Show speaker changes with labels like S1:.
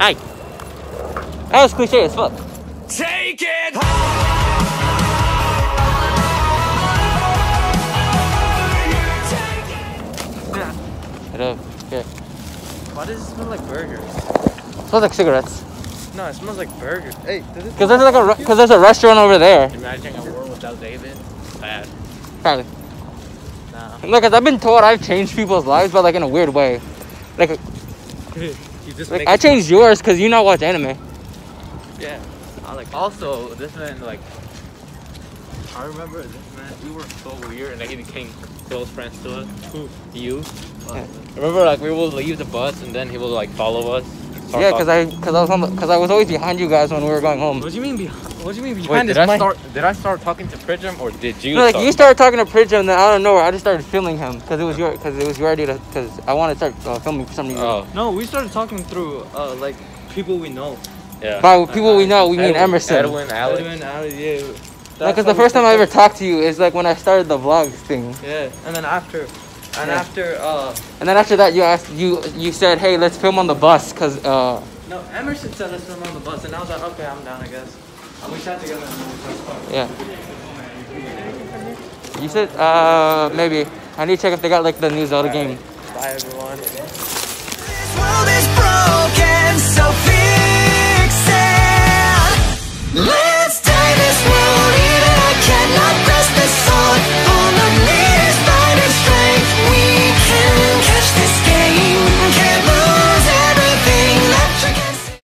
S1: Hey, that was cliche as fuck.
S2: Take it
S1: Hello. Okay.
S3: Why does it smell like burgers?
S1: Smells like cigarettes.
S3: No, it smells like burgers. Hey, does it
S1: Cause there's like a re- cause there's a restaurant over there.
S3: Imagine a world without David. Bad.
S1: Probably.
S3: Nah.
S1: No, cause I've been told I've changed people's lives, but like in a weird way. Like,
S3: you just
S1: like I changed yours cause you not watch anime.
S3: Yeah. I like. Also, this man like. I remember this man. We were so weird, and like, he became close friends to us. Who? You. Uh,
S1: Yeah.
S3: Remember, like we will leave the bus, and then he will like follow us. start
S1: Yeah,
S3: talking.
S1: cause I cause I was on the, cause I was always behind you guys when we were going home.
S3: What do you mean behind? What do you mean
S2: Wait,
S3: behind
S2: did I
S3: this mic?
S2: start? Did I start talking to Pridgem or did you?
S1: No, like
S2: start?
S1: you started talking to Pridge and then out of nowhere I just started filming him cause it was your cause it was your idea to, cause I wanted to start uh, filming for some reason.
S2: Oh,
S3: No, we started talking through uh like people we know.
S2: yeah.
S1: By people we know, we mean
S2: Edwin-
S1: Emerson.
S2: Edwin, Alex.
S3: Edwin, Ali, yeah. That's
S1: Because
S3: how
S1: the
S3: we
S1: first time I ever
S3: started.
S1: talked to you is like when I started the vlogs thing,
S3: Yeah, and then after, and
S1: Yeah.
S3: after uh
S1: and then after that you asked you you said hey let's film on the bus because uh
S3: no Emerson said let's film on the bus, and I was like okay I'm down I guess. And we sat together. And we just talked.
S1: yeah you said uh maybe I need to check if they got like the new Zelda game.
S3: Bye everyone.
S4: This world is broken, so feel